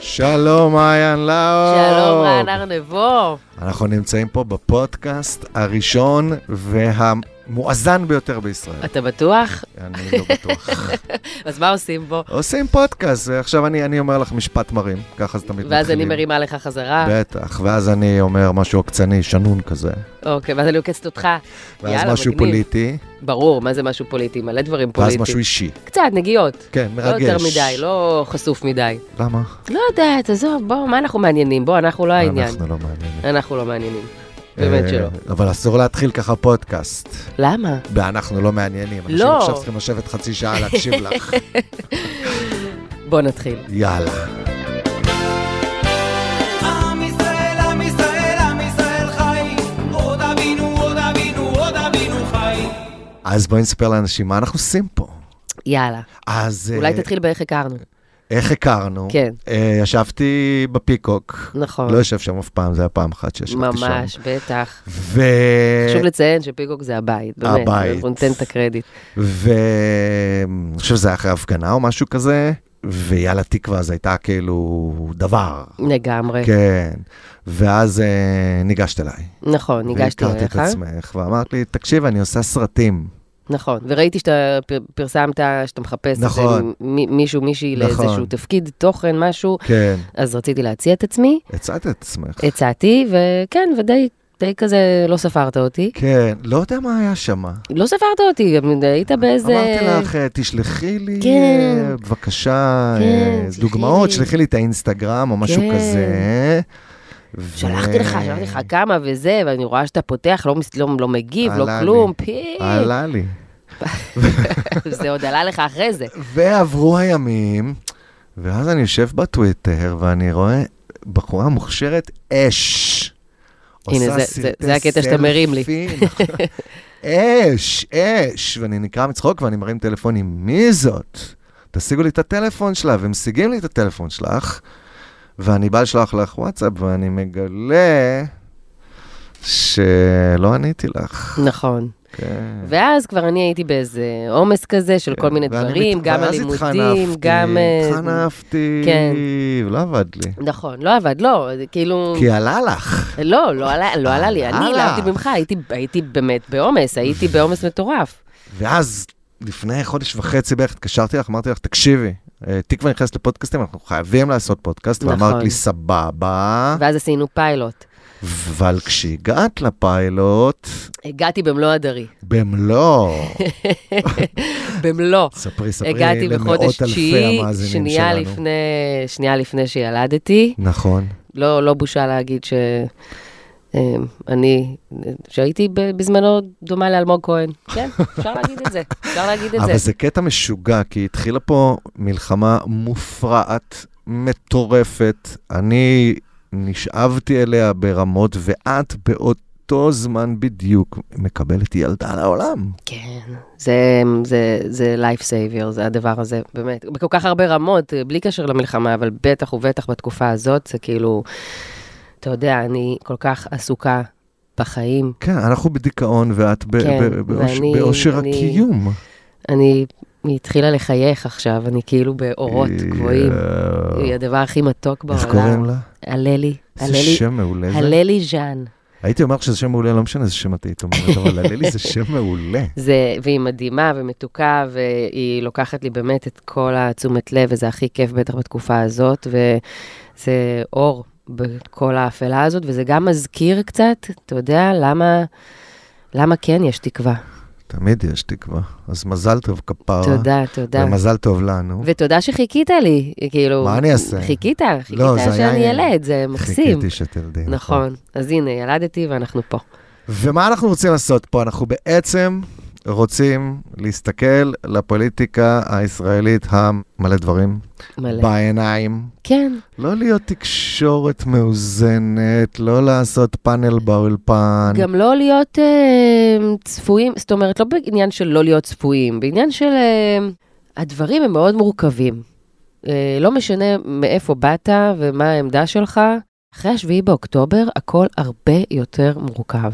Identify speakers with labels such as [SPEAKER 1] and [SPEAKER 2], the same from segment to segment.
[SPEAKER 1] שלום, מעיין לאו.
[SPEAKER 2] שלום, רן ארנבו.
[SPEAKER 1] אנחנו נמצאים פה בפודקאסט הראשון והמואזן ביותר בישראל.
[SPEAKER 2] אתה בטוח?
[SPEAKER 1] אני לא בטוח.
[SPEAKER 2] אז מה עושים בו?
[SPEAKER 1] עושים פודקאסט, ועכשיו אני, אני אומר לך משפט מרים, ככה זה תמיד מתחילים.
[SPEAKER 2] ואז אני מרימה לך חזרה.
[SPEAKER 1] בטח, ואז אני אומר משהו עוקצני, שנון כזה.
[SPEAKER 2] אוקיי, ואז אני עוקצת אותך.
[SPEAKER 1] ואז
[SPEAKER 2] יאללה,
[SPEAKER 1] משהו
[SPEAKER 2] מגניב.
[SPEAKER 1] פוליטי,
[SPEAKER 2] ברור, מה זה משהו פוליטי? מלא דברים
[SPEAKER 1] ואז
[SPEAKER 2] פוליטיים.
[SPEAKER 1] משהו אישי.
[SPEAKER 2] קצת, נגיעות.
[SPEAKER 1] כן,
[SPEAKER 2] לא
[SPEAKER 1] מרגש.
[SPEAKER 2] יותר מדי, לא חשוף מדי.
[SPEAKER 1] למה?
[SPEAKER 2] לא יודעת, עזוב, בוא, מה אנחנו מעניינים? בוא, אנחנו לא העניין.
[SPEAKER 1] אנחנו לא מעניינים.
[SPEAKER 2] אנחנו לא מעניינים. באמת
[SPEAKER 1] אה,
[SPEAKER 2] שלא.
[SPEAKER 1] אבל אסור להתחיל ככה פודקאסט.
[SPEAKER 2] למה?
[SPEAKER 1] ואנחנו לא מעניינים. אנשים
[SPEAKER 2] לא.
[SPEAKER 1] עכשיו צריכים לשבת חצי שעה להקשיב לך.
[SPEAKER 2] בוא נתחיל.
[SPEAKER 1] יאללה.
[SPEAKER 3] עם ישראל, עם ישראל, עם ישראל חי. עוד אבינו, עוד אבינו, עוד אבינו חי.
[SPEAKER 1] אז בואי נספר לאנשים מה אנחנו עושים פה.
[SPEAKER 2] יאללה.
[SPEAKER 1] אז אה,
[SPEAKER 2] אולי תתחיל באיך הכרנו.
[SPEAKER 1] איך הכרנו?
[SPEAKER 2] כן.
[SPEAKER 1] אה, ישבתי בפיקוק.
[SPEAKER 2] נכון.
[SPEAKER 1] לא יושב שם אף פעם, זה היה פעם אחת שישבתי שם.
[SPEAKER 2] ממש, בטח.
[SPEAKER 1] ו...
[SPEAKER 2] חשוב לציין שפיקוק זה הבית, באמת.
[SPEAKER 1] הבית.
[SPEAKER 2] אנחנו ניתן את הקרדיט.
[SPEAKER 1] ו... אני חושב שזה היה אחרי הפגנה או משהו כזה, ויאללה תקווה אז הייתה כאילו דבר.
[SPEAKER 2] לגמרי.
[SPEAKER 1] כן. ואז אה, ניגשת אליי.
[SPEAKER 2] נכון, ניגשתי
[SPEAKER 1] והכרתי
[SPEAKER 2] אליך.
[SPEAKER 1] את עצמך, ואמרת לי, תקשיב, אני עושה סרטים.
[SPEAKER 2] נכון, וראיתי שאתה פר- פרסמת, שאתה מחפש איזה
[SPEAKER 1] נכון.
[SPEAKER 2] מ- מישהו, מישהי
[SPEAKER 1] נכון.
[SPEAKER 2] לאיזשהו תפקיד, תוכן, משהו,
[SPEAKER 1] כן.
[SPEAKER 2] אז רציתי להציע את עצמי,
[SPEAKER 1] הצעת את עצמך.
[SPEAKER 2] הצעתי, וכן, ודי די כזה לא ספרת אותי.
[SPEAKER 1] כן, לא יודע מה היה שם.
[SPEAKER 2] לא ספרת אותי, גם היית באיזה...
[SPEAKER 1] אמרתי לך, אה, תשלחי לי,
[SPEAKER 2] כן.
[SPEAKER 1] אה, בבקשה, אה,
[SPEAKER 2] כן,
[SPEAKER 1] דוגמאות,
[SPEAKER 2] תשלחי לי.
[SPEAKER 1] שלחי לי את האינסטגרם או משהו
[SPEAKER 2] כן.
[SPEAKER 1] כזה. ו-
[SPEAKER 2] שלחתי לך,
[SPEAKER 1] אה,
[SPEAKER 2] שלחתי לך כמה וזה, ואני רואה שאתה פותח, לא, מס- לא, לא מגיב, לא
[SPEAKER 1] עלה לי.
[SPEAKER 2] כלום, פי...
[SPEAKER 1] עלה לי.
[SPEAKER 2] זה עוד עלה לך אחרי זה.
[SPEAKER 1] ועברו הימים, ואז אני יושב בטוויטר ואני רואה בחורה מוכשרת אש.
[SPEAKER 2] הנה,
[SPEAKER 1] עושה
[SPEAKER 2] זה- זה-
[SPEAKER 1] סרטי
[SPEAKER 2] זה הקטע שאתה מרים לי.
[SPEAKER 1] סלפי, נכון. אש, אש, ואני נקרע מצחוק ואני מרים טלפון עם מי זאת? תשיגו לי את הטלפון שלה, ומשיגים לי את הטלפון שלך, ואני בא לשלוח לך וואטסאפ ואני מגלה שלא עניתי לך.
[SPEAKER 2] נכון.
[SPEAKER 1] כן.
[SPEAKER 2] ואז כבר אני הייתי באיזה עומס כזה של כל מיני
[SPEAKER 1] ואני
[SPEAKER 2] דברים,
[SPEAKER 1] מת-
[SPEAKER 2] גם
[SPEAKER 1] ואז
[SPEAKER 2] הלימודים,
[SPEAKER 1] התחנפתי,
[SPEAKER 2] גם... אה,
[SPEAKER 1] התחנפתי,
[SPEAKER 2] כן.
[SPEAKER 1] ולא עבד לי.
[SPEAKER 2] נכון, לא עבד, לא, זה כאילו...
[SPEAKER 1] כי עלה לך.
[SPEAKER 2] לא, לא עלה, לא עלה לי, אני,
[SPEAKER 1] עלה.
[SPEAKER 2] להבדיל ממך, הייתי, הייתי באמת בעומס, הייתי בעומס מטורף.
[SPEAKER 1] ואז, לפני חודש וחצי בערך התקשרתי לך, אמרתי לך, תקשיבי, אה, תקווה נכנסת לפודקאסטים, אנחנו חייבים לעשות פודקאסט,
[SPEAKER 2] נכון.
[SPEAKER 1] ואמרת לי, סבבה,
[SPEAKER 2] ואז עשינו פיילוט.
[SPEAKER 1] אבל כשהגעת לפיילוט,
[SPEAKER 2] הגעתי במלוא הדרי,
[SPEAKER 1] במלוא,
[SPEAKER 2] במלוא.
[SPEAKER 1] ספרי, ספרי
[SPEAKER 2] הגעתי בחודש
[SPEAKER 1] למאות אלפי
[SPEAKER 2] תשיעי,
[SPEAKER 1] המאזינים
[SPEAKER 2] שנייה
[SPEAKER 1] שלנו.
[SPEAKER 2] לפני, שנייה לפני שילדתי.
[SPEAKER 1] נכון,
[SPEAKER 2] לא, לא בושה להגיד ש... אה, אני, שהייתי ב- בזמנו דומה לאלמוג כהן. כן, אפשר להגיד את זה, אפשר להגיד את
[SPEAKER 1] אבל
[SPEAKER 2] זה.
[SPEAKER 1] זה קטע משוגע, כי התחילה פה מלחמה מופרעת, מטורפת. אני נשאבתי אליה ברמות, ואת באותו זמן בדיוק מקבלת ילדה לעולם.
[SPEAKER 2] כן, זה, זה, זה life savior, זה הדבר הזה, באמת. בכל כך הרבה רמות, בלי קשר למלחמה, אבל בטח ובטח בתקופה הזאת, זה כאילו, אתה יודע, אני כל כך עסוקה בחיים.
[SPEAKER 1] כן, אנחנו בדיכאון, ואת ב-
[SPEAKER 2] כן,
[SPEAKER 1] ב- באוש-
[SPEAKER 2] ואני-
[SPEAKER 1] באושר
[SPEAKER 2] אני-
[SPEAKER 1] הקיום.
[SPEAKER 2] אני, היא התחילה לחייך עכשיו, אני כאילו באורות
[SPEAKER 1] היא-
[SPEAKER 2] גבוהים.
[SPEAKER 1] אה,
[SPEAKER 2] היא הדבר הכי מתוק בעולם.
[SPEAKER 1] איך קוראים לה?
[SPEAKER 2] הללי,
[SPEAKER 1] איזה
[SPEAKER 2] הללי,
[SPEAKER 1] שם מעולה זה.
[SPEAKER 2] הללי ז'אן.
[SPEAKER 1] הייתי אומר שזה שם מעולה, לא משנה איזה שם את היית אומרת, אבל הללי זה שם מעולה.
[SPEAKER 2] זה, והיא מדהימה ומתוקה, והיא לוקחת לי באמת את כל התשומת לב, וזה הכי כיף בטח בתקופה הזאת, וזה אור בכל האפלה הזאת, וזה גם מזכיר קצת, אתה יודע, למה, למה כן יש תקווה.
[SPEAKER 1] תמיד יש תקווה. אז מזל טוב כפרה.
[SPEAKER 2] תודה, תודה.
[SPEAKER 1] ומזל טוב לנו.
[SPEAKER 2] ותודה שחיכית לי, כאילו...
[SPEAKER 1] מה אני אעשה?
[SPEAKER 2] חיכית, חיכית
[SPEAKER 1] לא, זה
[SPEAKER 2] שאני
[SPEAKER 1] היה-
[SPEAKER 2] ילד, זה מקסים.
[SPEAKER 1] חיכיתי שתלדי.
[SPEAKER 2] נכון. אז הנה, ילדתי ואנחנו פה.
[SPEAKER 1] ומה אנחנו רוצים לעשות פה? אנחנו בעצם רוצים להסתכל לפוליטיקה הישראלית המלא דברים
[SPEAKER 2] מלא.
[SPEAKER 1] בעיניים.
[SPEAKER 2] כן,
[SPEAKER 1] לא להיות תקשורת מאוזנת, לא לעשות פאנל באולפן.
[SPEAKER 2] גם לא להיות אה, צפויים, זאת אומרת, לא בעניין של לא להיות צפויים, בעניין של אה, הדברים הם מאוד מורכבים. אה, לא משנה מאיפה באת ומה העמדה שלך, אחרי השביעי באוקטובר הכל הרבה יותר מורכב.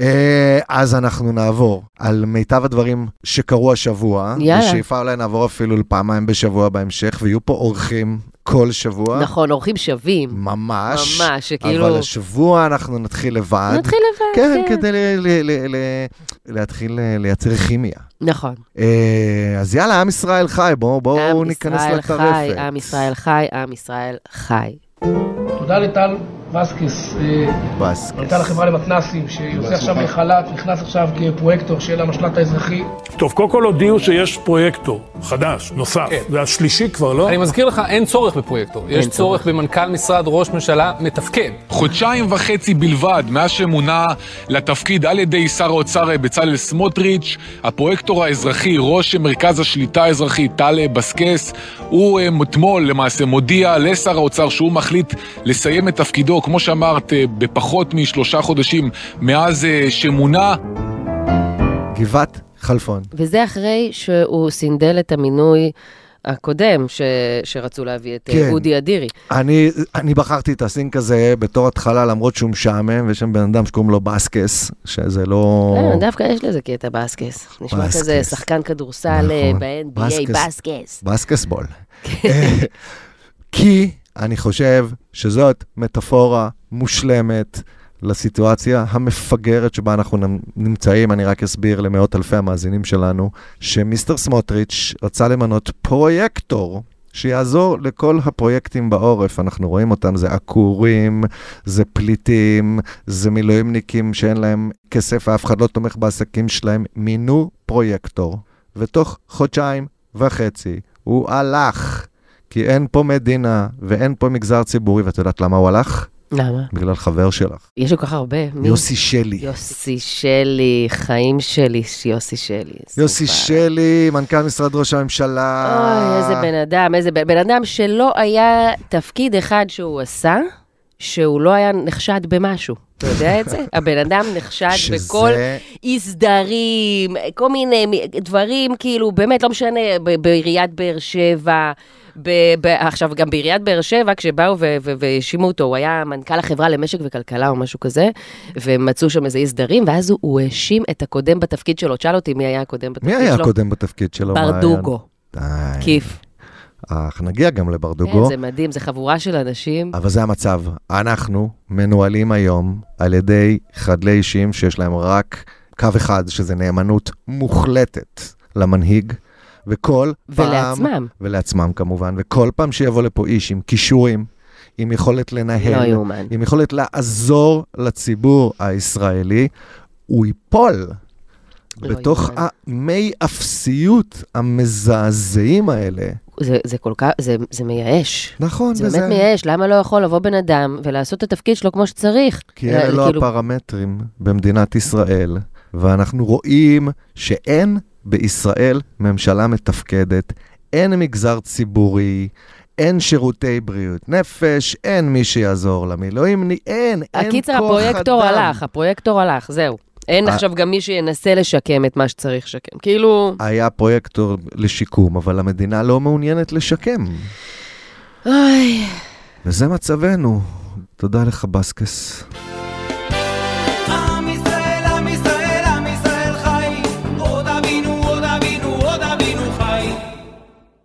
[SPEAKER 1] אה, אז אנחנו נעבור על מיטב הדברים שקרו השבוע.
[SPEAKER 2] יאללה.
[SPEAKER 1] בשאיפה אולי נעבור אפילו לפעמיים בשבוע בהמשך, ויהיו פה אורחים. כל שבוע.
[SPEAKER 2] נכון, אורחים שווים.
[SPEAKER 1] ממש.
[SPEAKER 2] ממש, כאילו, שכאילו-
[SPEAKER 1] אבל השבוע אנחנו נתחיל לבד.
[SPEAKER 2] נתחיל לבד.
[SPEAKER 1] כן, כדי ל- ל- ל- ל- להתחיל אה, לייצר כימיה.
[SPEAKER 2] נכון.
[SPEAKER 1] אה, אז יאללה, עם ישראל חי, בואו בואו
[SPEAKER 2] עם
[SPEAKER 1] ניכנס
[SPEAKER 2] ישראל
[SPEAKER 1] לטרפת.
[SPEAKER 2] חי, עם ישראל חי, עם ישראל חי.
[SPEAKER 4] תודה לטל וסקס, אה,
[SPEAKER 1] בסקס.
[SPEAKER 4] מנכ"ל החברה למתנ"סים, שיוצא עכשיו לחל"ת, נכנס עכשיו כפרויקטור של המשל"ט האזרחי.
[SPEAKER 5] טוב, קודם כל הודיעו שיש פרויקטור חדש, נוסף.
[SPEAKER 6] כן.
[SPEAKER 5] זה השלישי כבר, לא?
[SPEAKER 6] אני מזכיר לך, אין צורך בפרויקטור. יש צורך במנכ"ל משרד ראש ממשלה מתפקד.
[SPEAKER 7] חודשיים וחצי בלבד מאז שמונה לתפקיד על ידי שר האוצר בצלאל סמוטריץ', הפרויקטור האזרחי, ראש מרכז השליטה האזרחית טל בסקס, הוא אה, אתמול למעשה מודיע לשר האוצר שהוא מחליט לסיים את תפקידו, כמו שאמרת, אה, בפחות משלושה חודשים מאז אה, שמונה.
[SPEAKER 1] גבעת חלפון.
[SPEAKER 2] וזה אחרי שהוא סינדל את המינוי הקודם ש... שרצו להביא את אה,
[SPEAKER 1] כן.
[SPEAKER 2] אודי אדירי.
[SPEAKER 1] אני, אני בחרתי את הסינק הזה בתור התחלה, למרות שהוא משעמם, ויש שם בן אדם שקוראים לו בסקס, שזה לא...
[SPEAKER 2] אה, דווקא יש לזה קטע בסקס. נשמע
[SPEAKER 1] בסקס.
[SPEAKER 2] כזה שחקן כדורסל אה,
[SPEAKER 1] נכון.
[SPEAKER 2] ב-NBA,
[SPEAKER 1] בסקס.
[SPEAKER 2] בסקס.
[SPEAKER 1] בסקסבול. אה, כי אני חושב שזאת מטאפורה מושלמת לסיטואציה המפגרת שבה אנחנו נ- נמצאים. אני רק אסביר למאות אלפי המאזינים שלנו, שמיסטר סמוטריץ' רצה למנות פרויקטור. שיעזור לכל הפרויקטים בעורף, אנחנו רואים אותם, זה עקורים, זה פליטים, זה מילואימניקים שאין להם כסף, אף אחד לא תומך בעסקים שלהם. מינו פרויקטור, ותוך חודשיים וחצי הוא הלך, כי אין פה מדינה ואין פה מגזר ציבורי, ואת יודעת למה הוא הלך?
[SPEAKER 2] למה?
[SPEAKER 1] בגלל חבר שלך,
[SPEAKER 2] יש כל כך הרבה. מי?
[SPEAKER 1] יוסי שלי.
[SPEAKER 2] יוסי שלי, חיים שלי, יוסי שלי.
[SPEAKER 1] יוסי
[SPEAKER 2] סופה.
[SPEAKER 1] שלי, מנכ"ל משרד ראש הממשלה.
[SPEAKER 2] אוי, איזה בן אדם, איזה בן, בן אדם שלא היה תפקיד אחד שהוא עשה, שהוא לא היה נחשד במשהו. אתה יודע את זה? הבן אדם נחשד
[SPEAKER 1] שזה-
[SPEAKER 2] בכל אי סדרים, כל מיני מ- דברים, כאילו, באמת, לא משנה, ב- בעיריית באר שבע, ב- ב- עכשיו, גם בעיריית באר שבע, כשבאו ו- ו- והאשימו אותו, הוא היה מנכ"ל החברה למשק וכלכלה או משהו כזה, והם מצאו שם איזה אי סדרים, ואז הוא- הוא האשים את הקודם בתפקיד שלו. תשאל אותי מי היה הקודם בתפקיד
[SPEAKER 1] מי
[SPEAKER 2] שלו.
[SPEAKER 1] היה הקודם בתפקיד שלו?
[SPEAKER 2] ברדוגו.
[SPEAKER 1] מעיין? די.
[SPEAKER 2] כיף.
[SPEAKER 1] אך נגיע גם
[SPEAKER 2] כן,
[SPEAKER 1] לברדוגו.
[SPEAKER 2] זה מדהים, זה חבורה של אנשים.
[SPEAKER 1] אבל זה המצב. אנחנו מנוהלים היום על ידי חדלי אישים שיש להם רק קו אחד, שזה נאמנות מוחלטת למנהיג, וכל פעם...
[SPEAKER 2] ולעצמם.
[SPEAKER 1] ולעצמם כמובן, וכל פעם שיבוא לפה איש עם כישורים, עם יכולת לנהל,
[SPEAKER 2] לא יאומן.
[SPEAKER 1] עם יכולת לעזור לציבור הישראלי, הוא ייפול.
[SPEAKER 2] לא
[SPEAKER 1] בתוך
[SPEAKER 2] יאומן.
[SPEAKER 1] המי אפסיות המזעזעים האלה.
[SPEAKER 2] זה- זה כל כך, זה- זה מייאש.
[SPEAKER 1] נכון,
[SPEAKER 2] זה
[SPEAKER 1] וזה-
[SPEAKER 2] באמת מייאש, למה לא יכול לבוא בן אדם ולעשות את התפקיד שלו כמו שצריך?
[SPEAKER 1] כי אלה לא
[SPEAKER 2] כאילו,
[SPEAKER 1] הפרמטרים במדינת ישראל, ואנחנו רואים שאין בישראל ממשלה מתפקדת, אין מגזר ציבורי, אין שירותי בריאות נפש, אין מי שיעזור למילואים, אין, אין כוח אדם.
[SPEAKER 2] הקיצר, הפרויקטור הלך, הפרויקטור הלך, זהו. אין
[SPEAKER 1] אה.
[SPEAKER 2] עכשיו גם מי שינסה לשקם את מה שצריך לשקם. כאילו,
[SPEAKER 1] היה פרויקטור לשיקום, אבל המדינה לא מעוניינת לשקם,
[SPEAKER 2] אוי,
[SPEAKER 1] וזה מצבנו. תודה לך, בסקס.
[SPEAKER 3] עם ישראל, עם ישראל, עם ישראל חי. עוד אבינו, עוד אבינו, עוד אבינו חי.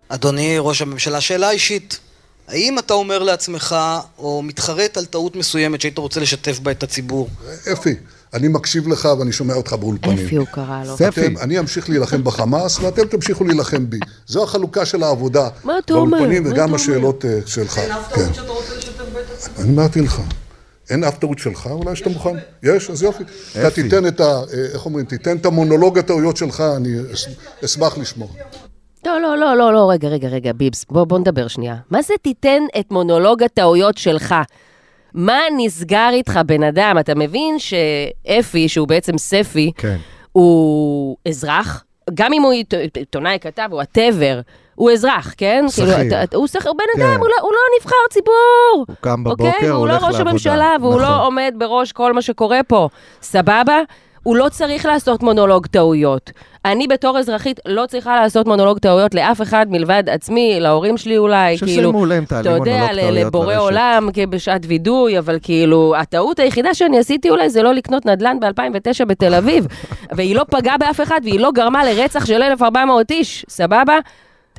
[SPEAKER 8] אדוני ראש הממשלה, שאלה אישית. האם אתה אומר לעצמך, או מתחרט על טעות מסוימת שהיית רוצה לשתף בה את הציבור?
[SPEAKER 9] אפי, אני מקשיב לך ואני שומע אותך באולפנים.
[SPEAKER 2] אפי הוא קרא לו.
[SPEAKER 1] זה- אפי.
[SPEAKER 9] אתם, אני אמשיך להילחם בחמאס ואתם תמשיכו להילחם בי. זו החלוקה של העבודה.
[SPEAKER 2] מה אתה אומר? מה
[SPEAKER 9] באולפנים
[SPEAKER 2] אתה
[SPEAKER 9] וגם
[SPEAKER 2] אומר?
[SPEAKER 9] השאלות אה, שלך. אין אף טעות שאתה רוצה לשתף בית אני אמרתי לך. אין אף טעות שלך, אולי שאתה מוכן. יש, אז יופי. אתה
[SPEAKER 1] אפי.
[SPEAKER 9] תיתן את ה... אה, איך אומרים? תיתן את המונולוג הטעויות שלך, אני אש- אשמח לשמוע.
[SPEAKER 2] לא, לא, לא, לא, לא, רגע, רגע, רגע, ביבס, בוא, בוא נדבר שנייה. מה זה תיתן את מונולוג הטעויות שלך? מה נסגר איתך, בן אדם? אתה מבין שאפי, שהוא בעצם ספי,
[SPEAKER 1] כן.
[SPEAKER 2] הוא אזרח, גם אם הוא עית- עיתונאי כתב, הוא וואטאבר, הוא אזרח, כן?
[SPEAKER 1] שכיר.
[SPEAKER 2] כאילו, אתה- אתה- הוא שכיר, בן
[SPEAKER 1] כן.
[SPEAKER 2] אדם, הוא לא- הוא לא נבחר ציבור.
[SPEAKER 1] הוא קם בבוקר,
[SPEAKER 2] אוקיי?
[SPEAKER 1] הוא
[SPEAKER 2] והוא לא
[SPEAKER 1] הולך
[SPEAKER 2] ראש
[SPEAKER 1] לעבודה.
[SPEAKER 2] הממשלה, והוא
[SPEAKER 1] נכון.
[SPEAKER 2] לא עומד בראש כל מה שקורה פה. סבבה? הוא לא צריך לעשות מונולוג טעויות. אני בתור אזרחית לא צריכה לעשות מונולוג טעויות לאף אחד מלבד עצמי, להורים שלי אולי,
[SPEAKER 1] חושב שזה
[SPEAKER 2] כאילו...
[SPEAKER 1] מעולה אם תעלי מונולוג
[SPEAKER 2] אתה יודע,
[SPEAKER 1] טעויות
[SPEAKER 2] ל- לבורא
[SPEAKER 1] לרשת.
[SPEAKER 2] עולם כן, בשעת וידוי, אבל כאילו, הטעות היחידה שאני עשיתי אולי זה לא לקנות נדל"ן ב-2009 בתל אביב, והיא לא פגעה באף אחד והיא לא גרמה לרצח של 1,400 איש, סבבה?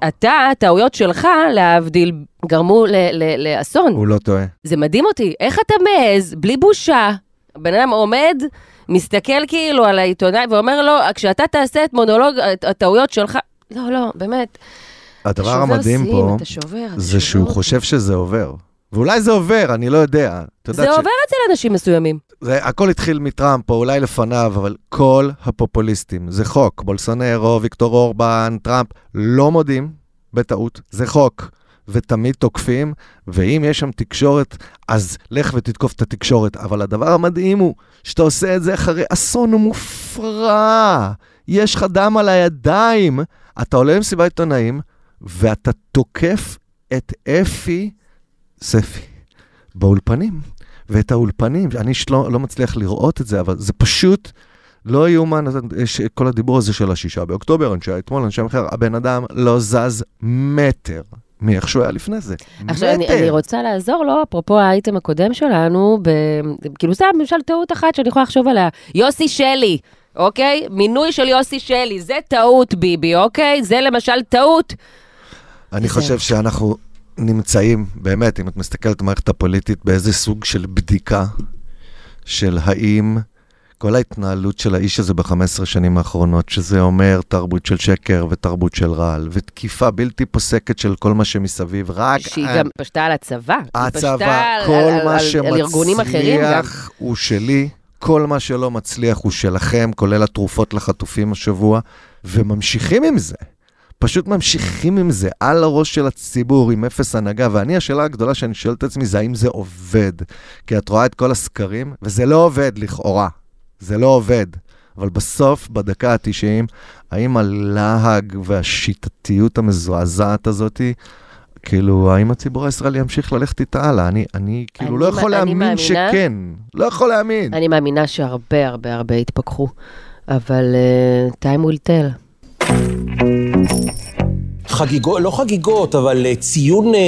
[SPEAKER 2] אתה, הטעויות שלך, להבדיל, גרמו ל- ל- לאסון.
[SPEAKER 1] הוא לא טועה.
[SPEAKER 2] זה מדהים אותי, איך אתה מעז, בלי בושה, בן אדם עומד, מסתכל כאילו על העיתונאי ואומר לו, כשאתה תעשה את מונולוג הט- הטעויות שלך... לא, לא, באמת. אתה
[SPEAKER 1] הדבר
[SPEAKER 2] שובר
[SPEAKER 1] המדהים
[SPEAKER 2] שיאים,
[SPEAKER 1] פה,
[SPEAKER 2] אתה שובר, אתה
[SPEAKER 1] זה שהוא
[SPEAKER 2] שובר.
[SPEAKER 1] חושב שזה עובר. ואולי זה עובר, אני לא יודע. את יודעת
[SPEAKER 2] זה
[SPEAKER 1] ש-
[SPEAKER 2] עובר אצל אנשים מסוימים.
[SPEAKER 1] זה, הכל התחיל מטראמפ, או אולי לפניו, אבל כל הפופוליסטים, זה חוק. בולסונרו, ויקטור אורבן, טראמפ, לא מודים בטעות, זה חוק. ותמיד תוקפים, ואם יש שם תקשורת, אז לך ותתקוף את התקשורת. אבל הדבר המדהים הוא שאתה עושה את זה אחרי אסון מופרע. יש לך דם על הידיים. אתה עולה למסיבת עיתונאים, ואתה תוקף את אפי, ספי, באולפנים. ואת האולפנים, אני שלא, לא מצליח לראות את זה, אבל זה פשוט לא יאומן, יש כל הדיבור הזה של השישה באוקטובר, אנשי האתמול, אנשי המחר, הבן אדם לא זז מטר מאיך שהוא היה לפני זה.
[SPEAKER 2] עכשיו, אני,
[SPEAKER 1] מטר.
[SPEAKER 2] אני רוצה לעזור לו, אפרופו האייטם הקודם שלנו, ב... כאילו, סתם, למשל, טעות אחת שאני יכולה לחשוב עליה. יוסי שלי, אוקיי? מינוי של יוסי שלי, זה טעות, ביבי, אוקיי? זה למשל טעות. כן.
[SPEAKER 1] אני חושב שאנחנו נמצאים, באמת, אם את מסתכלת על המערכת הפוליטית, באיזה סוג של בדיקה של האם כל ההתנהלות של האיש הזה ב-15 שנים האחרונות, שזה אומר תרבות של שקר ותרבות של רעל, ותקיפה בלתי פוסקת של כל מה שמסביב, רק...
[SPEAKER 2] שהיא
[SPEAKER 1] אה,
[SPEAKER 2] גם פשטה על הצבא. היא פשטה
[SPEAKER 1] הצבא,
[SPEAKER 2] על-
[SPEAKER 1] כל
[SPEAKER 2] על- על-
[SPEAKER 1] מה
[SPEAKER 2] על ארגונים אחרים גם.
[SPEAKER 1] שמצליח הוא שלי, כל מה שלא מצליח הוא שלכם, כולל התרופות לחטופים השבוע, וממשיכים עם זה. פשוט ממשיכים עם זה, על הראש של הציבור, עם אפס הנהגה. ואני, השאלה הגדולה שאני שואל את עצמי זה האם זה עובד. כי את רואה את כל הסקרים, וזה לא עובד לכאורה. זה לא עובד. אבל בסוף, בדקה ה-90, האם הלהג והשיטתיות המזועזעת הזאתי, כאילו, האם הציבור הישראלי ימשיך ללכת איתה הלאה? אני, אני כאילו
[SPEAKER 2] אני
[SPEAKER 1] לא
[SPEAKER 2] מא-
[SPEAKER 1] יכול
[SPEAKER 2] אני
[SPEAKER 1] להאמין
[SPEAKER 2] מאמינה.
[SPEAKER 1] שכן. לא יכול להאמין.
[SPEAKER 2] אני מאמינה שהרבה הרבה הרבה התפכחו, אבל אה, time will tell.
[SPEAKER 10] חגיגות, לא חגיגות, אבל אה, ציון אה,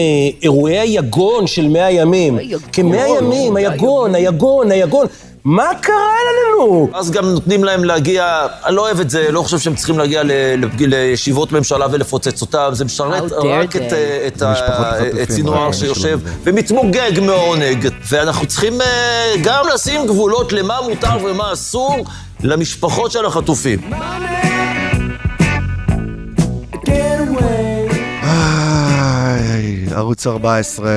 [SPEAKER 10] אירועי היגון של 100 ימים. כמאה ימים, היגון, היגון, היגון. מה קרה לנו?
[SPEAKER 11] אז גם נותנים להם להגיע, אני לא אוהב את זה, לא חושב שהם צריכים להגיע ל- לפג- לישיבות ממשלה ולפוצץ אותם, זה משרת
[SPEAKER 10] How dare
[SPEAKER 11] רק את,
[SPEAKER 10] they.
[SPEAKER 11] אה, את
[SPEAKER 10] זה
[SPEAKER 11] ה-
[SPEAKER 10] משפחות החטופים, אה,
[SPEAKER 11] את סינואר
[SPEAKER 10] רק
[SPEAKER 11] שיושב ומתמוגג מהעונג. ואנחנו צריכים אה, גם לשים גבולות למה מותר ומה אסור למשפחות של החטופים.
[SPEAKER 1] איי, ערוץ 14,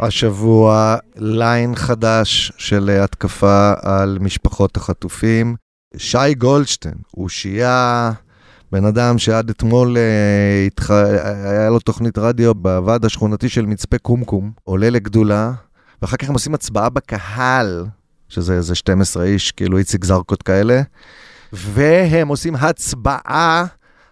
[SPEAKER 1] השבוע ליין חדש של אה, התקפה על משפחות החטופים. שי גולדשטיין, הוא שיהיה בן אדם שעד אתמול אה, התח... היה לו תוכנית רדיו בוועד השכונתי של מצפה קומקום, עולה לגדולה, ואחר כך הם עושים הצבעה בקהל, שזה איזה 12 איש, כאילו איציק זרקות כאלה, והם עושים הצבעה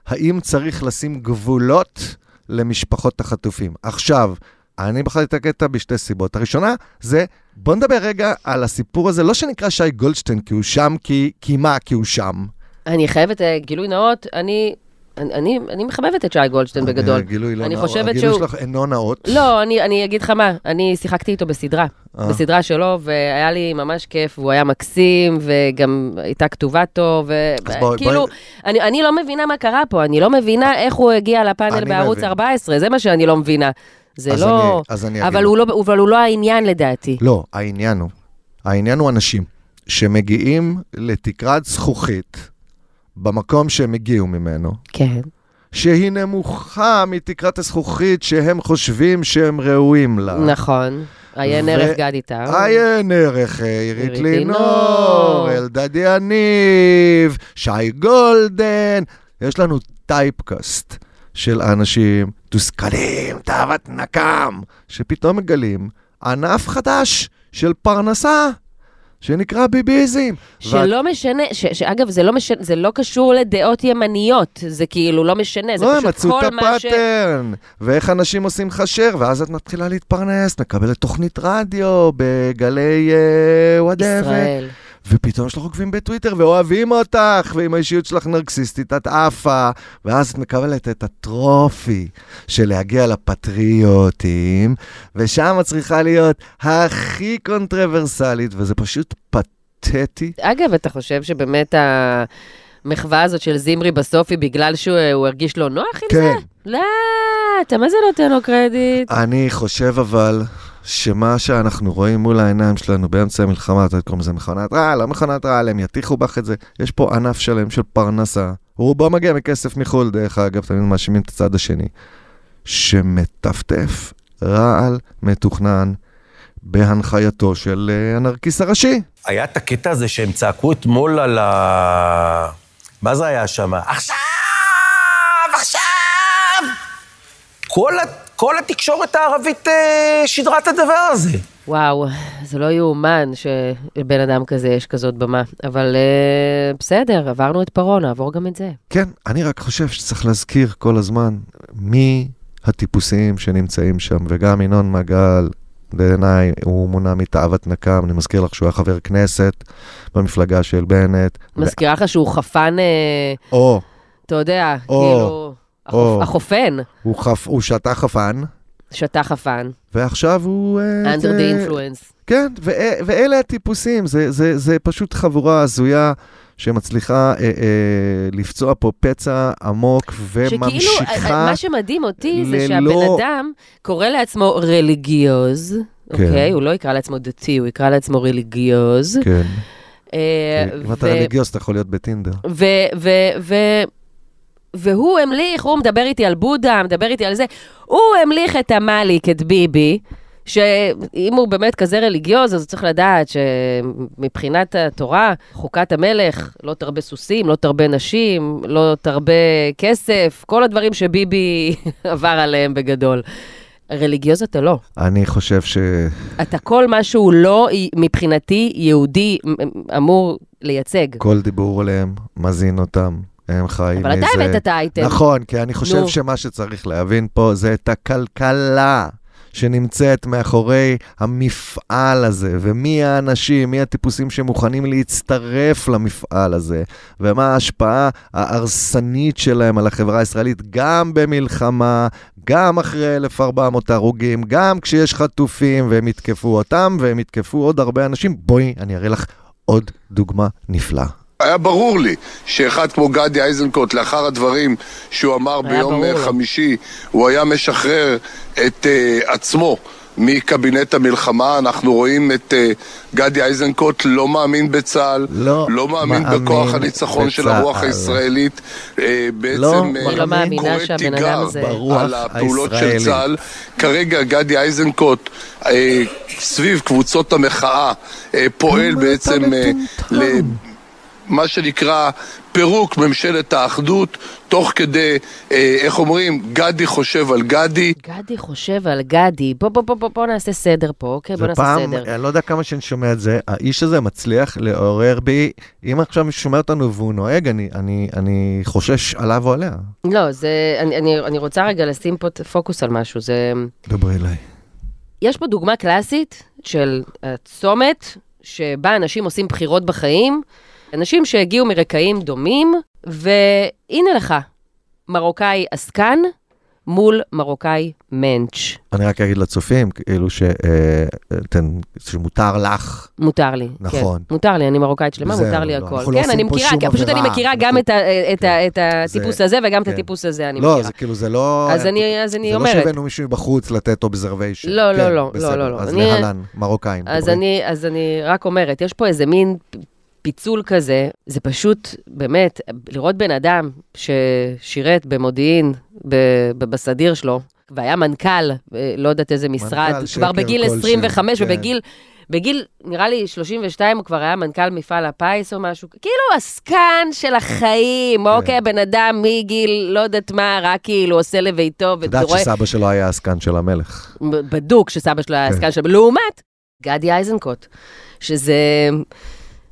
[SPEAKER 1] האם צריך לשים גבולות למשפחות החטופים. עכשיו, אני בחרתי את הקטע בשתי סיבות. הראשונה זה, בוא נדבר רגע על הסיפור הזה, לא שנקרא שי גולדשטיין כי הוא שם, כי, כי מה, כי הוא שם.
[SPEAKER 2] אני חייבת אה, גילוי נאות, אני... אני, אני, אני מחבבת את שי גולדשטיין כן, בגדול.
[SPEAKER 1] אה, גילוי לא
[SPEAKER 2] אני
[SPEAKER 1] נאות.
[SPEAKER 2] חושבת
[SPEAKER 1] הגילוי
[SPEAKER 2] שהוא...
[SPEAKER 1] שלך אינו נאות.
[SPEAKER 2] לא, אני, אני אגיד לך מה, אני שיחקתי איתו בסדרה,
[SPEAKER 1] אה.
[SPEAKER 2] בסדרה שלו, והיה לי ממש כיף, והוא היה מקסים, וגם הייתה כתובה טוב,
[SPEAKER 1] אז בואי-
[SPEAKER 2] וכאילו,
[SPEAKER 1] בואי-
[SPEAKER 2] אני, אני לא מבינה מה קרה פה, אני לא מבינה איך הוא הגיע לפאנל
[SPEAKER 1] אני
[SPEAKER 2] בערוץ
[SPEAKER 1] מבין.
[SPEAKER 2] 14, זה מה שאני לא מבינה. זה
[SPEAKER 1] אז
[SPEAKER 2] לא...
[SPEAKER 1] אני- אז אני אגיד
[SPEAKER 2] אבל
[SPEAKER 1] לך.
[SPEAKER 2] הוא לא, אבל הוא לא העניין לדעתי.
[SPEAKER 1] לא, העניין הוא, העניין הוא אנשים שמגיעים לתקרת זכוכית במקום שהם הגיעו ממנו.
[SPEAKER 2] כן.
[SPEAKER 1] שהיא נמוכה מתקרת הזכוכית שהם חושבים שהם ראויים לה.
[SPEAKER 2] נכון. עיין
[SPEAKER 1] ו-
[SPEAKER 2] ערך גד איתה.
[SPEAKER 1] עיין ערך אה, עירית
[SPEAKER 2] עירית
[SPEAKER 1] לינור,
[SPEAKER 2] לינור.
[SPEAKER 1] אלדד יניב, שי גולדן. יש לנו טייפקאסט של אנשים תוסכלים, תאוות נקם, שפתאום מגלים ענף חדש של פרנסה, שנקרא ביביזם.
[SPEAKER 2] שלא משנה, ש, שאגב, זה לא, משנה, זה לא קשור לדעות ימניות, זה כאילו לא משנה, זה
[SPEAKER 1] לא, הם
[SPEAKER 2] פשוט
[SPEAKER 1] מצאו את
[SPEAKER 2] כל מה ש...
[SPEAKER 1] הפאטרן, ואיך אנשים עושים חשר, ואז את מתחילה להתפרנס, מקבלת תוכנית רדיו בגלי אה, וואטאבר.
[SPEAKER 2] ישראל.
[SPEAKER 1] ופתאום יש לך עוקבים בטוויטר ואוהבים אותך, ואם האישיות שלך נרקסיסטית, את עפה, ואז את מקבלת את הטרופי של להגיע לפטריוטים, ושם את צריכה להיות הכי קונטרוברסלית, וזה פשוט פתטי.
[SPEAKER 2] אגב, אתה חושב שבאמת המחווה הזאת של זמרי בסוף היא בגלל שהוא הוא אה, הרגיש לא נוח עם זה?
[SPEAKER 1] כן, אה.
[SPEAKER 2] לא, אתה מה זה נותן לו קרדיט?
[SPEAKER 1] אני חושב אבל שמה שאנחנו רואים מול העיניים שלנו באמצע המלחמה, אתה קוראים לזה מכונת רעל, לא מכונת רעל, הם יטיחו בך את זה. יש פה ענף שלם של פרנסה, רובו מגיע מכסף מחו"ל, דרך אגב, תמיד מאשימים את הצד השני, שמטפטף רעל מתוכנן בהנחייתו של אה, הנרקיס הראשי.
[SPEAKER 10] היה את הקטע הזה שהם צעקו אתמול על ה... מה זה היה שם? עכשיו! עכשיו! כל, ה... כל התקשורת הערבית אה, שידרה את הדבר הזה.
[SPEAKER 2] וואו, זה לא יאומן שלבן אדם כזה יש כזאת במה. אבל אה, בסדר, עברנו את פרעה, נעבור גם את זה.
[SPEAKER 1] כן, אני רק חושב שצריך להזכיר כל הזמן מי הטיפוסים שנמצאים שם, וגם ינון מגל, בעיניי, הוא מונע מתאוות נקם, אני מזכיר לך שהוא היה חבר כנסת במפלגה של בנט.
[SPEAKER 2] מזכירה לך שהוא חפן, אה,
[SPEAKER 1] ו- או,
[SPEAKER 2] אתה יודע,
[SPEAKER 1] או,
[SPEAKER 2] כאילו,
[SPEAKER 1] או.
[SPEAKER 2] החופ- החופן
[SPEAKER 1] הוא, חפ, הוא שתה חפן,
[SPEAKER 2] שתה חפן,
[SPEAKER 1] ועכשיו הוא... אה,
[SPEAKER 2] under
[SPEAKER 1] זה-
[SPEAKER 2] the influence.
[SPEAKER 1] כן, ו- ואלה הטיפוסים, זה, זה, זה פשוט חבורה הזויה שמצליחה אה, אה, לפצוע פה פצע עמוק
[SPEAKER 2] שכאילו,
[SPEAKER 1] וממשיכה...
[SPEAKER 2] אה, מה שמדהים אותי זה
[SPEAKER 1] ללא-
[SPEAKER 2] שהבן אדם קורא לעצמו רליגיוז,
[SPEAKER 1] כן.
[SPEAKER 2] אוקיי? הוא לא יקרא לעצמו דתי, הוא יקרא לעצמו רליגיוז.
[SPEAKER 1] כן.
[SPEAKER 2] אה,
[SPEAKER 1] אם אתה
[SPEAKER 2] ו-
[SPEAKER 1] רליגיוס, אתה יכול להיות בטינדר.
[SPEAKER 2] ו... ו... ו... והוא המליך, הוא מדבר איתי על בודה, מדבר איתי על זה, הוא המליך את המאליק, את ביבי, שאם הוא באמת כזה רליגיוז, אז הוא צריך לדעת שמבחינת התורה, חוקת המלך, לא תרבה סוסים, לא תרבה נשים, לא תרבה כסף, כל הדברים שביבי עבר עליהם בגדול. רליגיוז אתה לא.
[SPEAKER 1] אני חושב ש...
[SPEAKER 2] אתה כל מה שהוא לא, מבחינתי, יהודי אמ, אמור לייצג.
[SPEAKER 1] כל דיבור עליהם מזין אותם, הם חיים
[SPEAKER 2] אבל אתה
[SPEAKER 1] מזה.
[SPEAKER 2] הבאת את האייטם.
[SPEAKER 1] נכון, כי אני חושב
[SPEAKER 2] נו.
[SPEAKER 1] שמה שצריך להבין פה זה את הכלכלה שנמצאת מאחורי המפעל הזה, ומי האנשים, מי הטיפוסים שמוכנים להצטרף למפעל הזה, ומה ההשפעה ההרסנית שלהם על החברה הישראלית, גם במלחמה, גם אחרי 1,400 הרוגים, גם כשיש חטופים, והם יתקפו אותם, והם יתקפו עוד הרבה אנשים. בואי, אני אראה לך עוד דוגמה נפלאה.
[SPEAKER 12] היה ברור לי שאחד כמו גדי איזנקוט, לאחר הדברים שהוא אמר ביום אה, חמישי, הוא היה משחרר את uh, עצמו מקבינט המלחמה. אנחנו רואים את uh, גדי איזנקוט לא מאמין בצה"ל,
[SPEAKER 1] לא,
[SPEAKER 12] לא מאמין,
[SPEAKER 1] מאמין
[SPEAKER 12] בכוח הניצחון של הרוח
[SPEAKER 1] בצה"ל.
[SPEAKER 12] הישראלית. Uh, בעצם
[SPEAKER 1] לא
[SPEAKER 12] אה,
[SPEAKER 1] מאמין. לא מאמינה
[SPEAKER 12] קורא
[SPEAKER 2] שהבן
[SPEAKER 12] תיגר
[SPEAKER 2] אדם הזה- ברוח
[SPEAKER 12] על הפעולות של
[SPEAKER 1] הישראלית.
[SPEAKER 12] צה"ל. כרגע גדי איזנקוט אה, סביב קבוצות המחאה אה, פועל בעצם אה, ל... מה שנקרא פירוק ממשלת האחדות, תוך כדי, אה, איך אומרים, גדי חושב על גדי.
[SPEAKER 2] גדי חושב על גדי, בוא, בוא, בוא, בוא, בוא נעשה סדר פה, אוקיי? בוא נעשה
[SPEAKER 1] ופעם,
[SPEAKER 2] סדר.
[SPEAKER 1] אני לא יודע כמה שאני שומע את זה, האיש הזה מצליח לעורר בי, אם עכשיו מישהו שומע אותנו והוא נוהג, אני, אני, אני חושש עליו או עליה.
[SPEAKER 2] לא, זה, אני, אני, אני רוצה רגע לשים פה ת- פוקוס על משהו. זה,
[SPEAKER 1] דברי אליי.
[SPEAKER 2] יש פה דוגמה קלאסית של הצומת, שבה אנשים עושים בחירות בחיים, אנשים שהגיעו מרקעים דומים, והנה לך, מרוקאי עסקן מול מרוקאי מענץ'.
[SPEAKER 1] אני רק אגיד לצופים, כאילו ש... אה, תן- שמותר לך.
[SPEAKER 2] מותר לי,
[SPEAKER 1] נכון.
[SPEAKER 2] כן. מותר לי, אני מרוקאית שלמה,
[SPEAKER 1] זהו,
[SPEAKER 2] מותר לי
[SPEAKER 1] לא,
[SPEAKER 2] הכל.
[SPEAKER 1] אנחנו לא
[SPEAKER 2] כן, אני
[SPEAKER 1] עושים פה
[SPEAKER 2] מכירה,
[SPEAKER 1] שום
[SPEAKER 2] כי פשוט אני
[SPEAKER 1] עבירה.
[SPEAKER 2] מכירה גם את ה- את ה- את הטיפוס
[SPEAKER 1] זה-
[SPEAKER 2] הזה וגם את
[SPEAKER 1] כן.
[SPEAKER 2] הטיפוס הזה, אני
[SPEAKER 1] לא,
[SPEAKER 2] מכירה.
[SPEAKER 1] זה כאילו, זה לא...
[SPEAKER 2] אז אני- אז אני
[SPEAKER 1] זה לא
[SPEAKER 2] אומרת.
[SPEAKER 1] שהבאנו מישהו מבחוץ לתת אובזרוויישן.
[SPEAKER 2] לא, לא, לא, לא, לא, לא.
[SPEAKER 1] אז
[SPEAKER 2] אני-
[SPEAKER 1] להלן, מרוקאים.
[SPEAKER 2] אז
[SPEAKER 1] דברי.
[SPEAKER 2] אני, אז אני רק אומרת, יש פה איזה מין פיצול כזה, זה פשוט, באמת, לראות בן אדם ששירת במודיעין, ב- ב- בסדיר שלו, והיה מנכ"ל, אה, לא יודעת איזה משרד,
[SPEAKER 3] שקר
[SPEAKER 2] כבר בגיל
[SPEAKER 3] כלשהו,
[SPEAKER 2] 25,
[SPEAKER 3] כן.
[SPEAKER 2] ובגיל, בגיל, נראה לי 32, הוא כבר היה מנכ"ל מפעל הפיס או משהו, כאילו עסקן של החיים,
[SPEAKER 1] כן.
[SPEAKER 2] אוקיי, בן אדם מגיל, לא יודעת מה, רק כאילו עושה לביתו,
[SPEAKER 1] את יודעת
[SPEAKER 2] ורואה-
[SPEAKER 1] שסבא שלו היה עסקן של המלך.
[SPEAKER 2] בדוק שסבא שלו היה
[SPEAKER 1] כן.
[SPEAKER 2] עסקן שלו. לעומת גדי איזנקוט, שזה...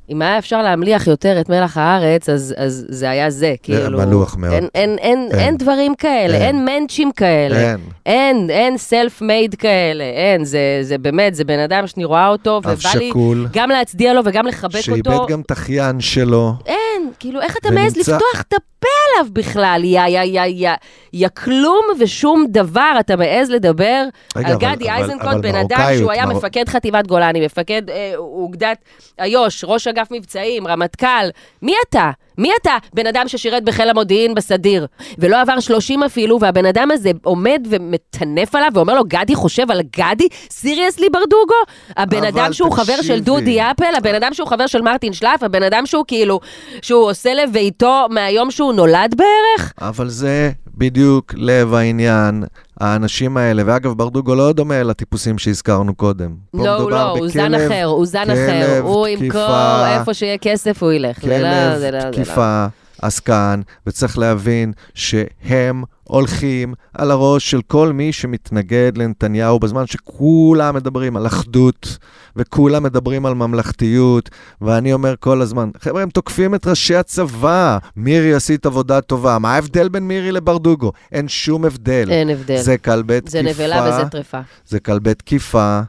[SPEAKER 2] אם היה אפשר להמליח יותר את מלח הארץ, אז, אז זה היה זה, כאילו.
[SPEAKER 1] מלוח מאוד. כן.
[SPEAKER 2] אין, אין, אין, אין, אין דברים כאלה, אין, אין מענצ'ים כאלה.
[SPEAKER 1] אין.
[SPEAKER 2] אין, אין סלף מייד כאלה, אין. זה, זה באמת, זה בן אדם שאני רואה אותו,
[SPEAKER 1] אב
[SPEAKER 2] ובא לי
[SPEAKER 1] שכול.
[SPEAKER 2] גם להצדיע לו וגם לחבק אותו.
[SPEAKER 1] שאיבד גם את אחיין שלו.
[SPEAKER 2] אין, כאילו, איך אתה מעז
[SPEAKER 1] ונמצא-
[SPEAKER 2] לפתוח את הפה עליו בכלל? יא, יא, יא, יא, יא כלום ושום דבר אתה מעז לדבר
[SPEAKER 1] רגע,
[SPEAKER 2] על
[SPEAKER 1] אבל-
[SPEAKER 2] גדי
[SPEAKER 1] אבל-
[SPEAKER 2] איזנקוט,
[SPEAKER 1] אבל
[SPEAKER 2] בן אדם
[SPEAKER 1] מרוקאיות,
[SPEAKER 2] שהוא היה
[SPEAKER 1] מר-
[SPEAKER 2] מפקד חטיבת גולני, מפקד אה, אוגדת איו"ש, ראש אגף מבצעים, רמטכ"ל. מי אתה? מי אתה? בן אדם ששירת בחיל המודיעין בסדיר, ולא עבר 30 אפילו, והבן אדם הזה עומד ומטנף עליו ואומר לו, גדי חושב על גדי? סיריוסלי ברדוגו? הבן
[SPEAKER 13] אבל
[SPEAKER 2] אדם שהוא חבר של
[SPEAKER 13] תקשיבי.
[SPEAKER 2] דודי אפל, הבן אדם שהוא חבר של מרטין שלף, הבן אדם שהוא כאילו, שהוא עושה לביתו מהיום שהוא נולד בערך?
[SPEAKER 1] אבל זה בדיוק לב העניין, האנשים האלה. ואגב, ברדוגו לא דומה לטיפוסים שהזכרנו קודם. פה
[SPEAKER 2] לא, הוא
[SPEAKER 1] מדובר
[SPEAKER 2] לא, הוא זן
[SPEAKER 1] בכלב-
[SPEAKER 2] אחר, הוא זן אחר.
[SPEAKER 1] כלב
[SPEAKER 2] הוא
[SPEAKER 1] תקיפה.
[SPEAKER 2] ימכור איפה שיהיה כסף, הוא ילך. זה לא- זה לא-
[SPEAKER 1] כלב
[SPEAKER 2] זה לא.
[SPEAKER 1] כן, תקיפה, עסקן, וצריך להבין שהם הולכים על הראש של כל מי שמתנגד לנתניהו בזמן שכולם מדברים על אחדות, וכולם מדברים על ממלכתיות, ואני אומר כל הזמן, חבר'ה, הם תוקפים את ראשי הצבא, מירי עשית עבודה טובה, מה ההבדל בין מירי לברדוגו? אין שום הבדל.
[SPEAKER 2] אין הבדל.
[SPEAKER 1] לא. זה כלבי
[SPEAKER 2] זה
[SPEAKER 1] תקיפה.
[SPEAKER 2] נבלה וזה טרפה.
[SPEAKER 1] זה כלבי תקיפה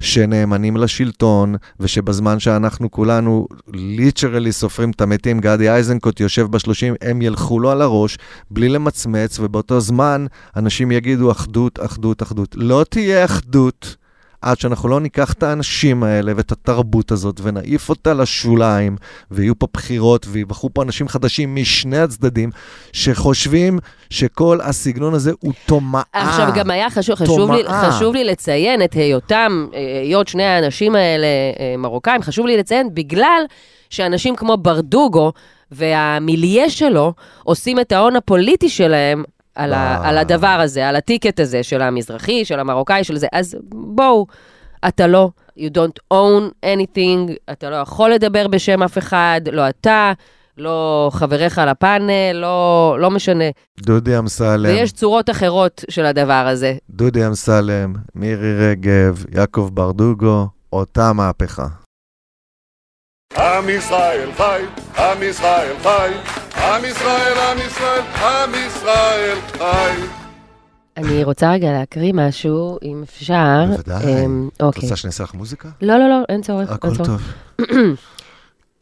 [SPEAKER 1] שנאמנים לשלטון, ושבזמן שאנחנו כולנו ליטרלי סופרים את המתים, גדי איזנקוט יושב בשלושים, הם ילכו לו על הראש בלי למצמץ, ובאותו זמן אנשים יגידו אחדות, אחדות, אחדות. לא תהיה אחדות. עד שאנחנו לא ניקח את האנשים האלה ואת התרבות הזאת ונעיף אותה לשוליים, ויהיו פה בחירות ויבחרו פה אנשים חדשים משני הצדדים, שחושבים שכל הסגנון הזה הוא תומאה.
[SPEAKER 2] עכשיו, גם היה חשוב, חשוב לי,
[SPEAKER 1] תומאה.
[SPEAKER 2] חשוב לי לציין את היותם, אה, היות שני האנשים האלה אה, מרוקאים, חשוב לי לציין בגלל שאנשים כמו ברדוגו והמיליה שלו עושים את ההון הפוליטי שלהם. על, ה,
[SPEAKER 1] אה.
[SPEAKER 2] על הדבר הזה, על הטיקט הזה של המזרחי, של המרוקאי, של זה. אז בואו, אתה לא, you don't own anything, אתה לא יכול לדבר בשם אף אחד, לא אתה, לא חבריך לפאנל, לא, לא משנה.
[SPEAKER 1] דודי אמסלם,
[SPEAKER 2] ויש צורות אחרות של הדבר הזה.
[SPEAKER 1] דודי אמסלם, מירי רגב, יעקב ברדוגו, אותה מהפכה.
[SPEAKER 14] עם ישראל חי, עם ישראל חי, עם ישראל, עם ישראל, עם ישראל חי.
[SPEAKER 2] אני רוצה רגע להקריא משהו, אם אפשר.
[SPEAKER 1] בוודאי.
[SPEAKER 2] אמ,
[SPEAKER 1] את
[SPEAKER 2] אוקיי.
[SPEAKER 1] רוצה שאני אעשה לך מוזיקה?
[SPEAKER 2] לא, לא, לא, אין צורך. אין
[SPEAKER 1] הכל
[SPEAKER 2] צורך.
[SPEAKER 1] טוב.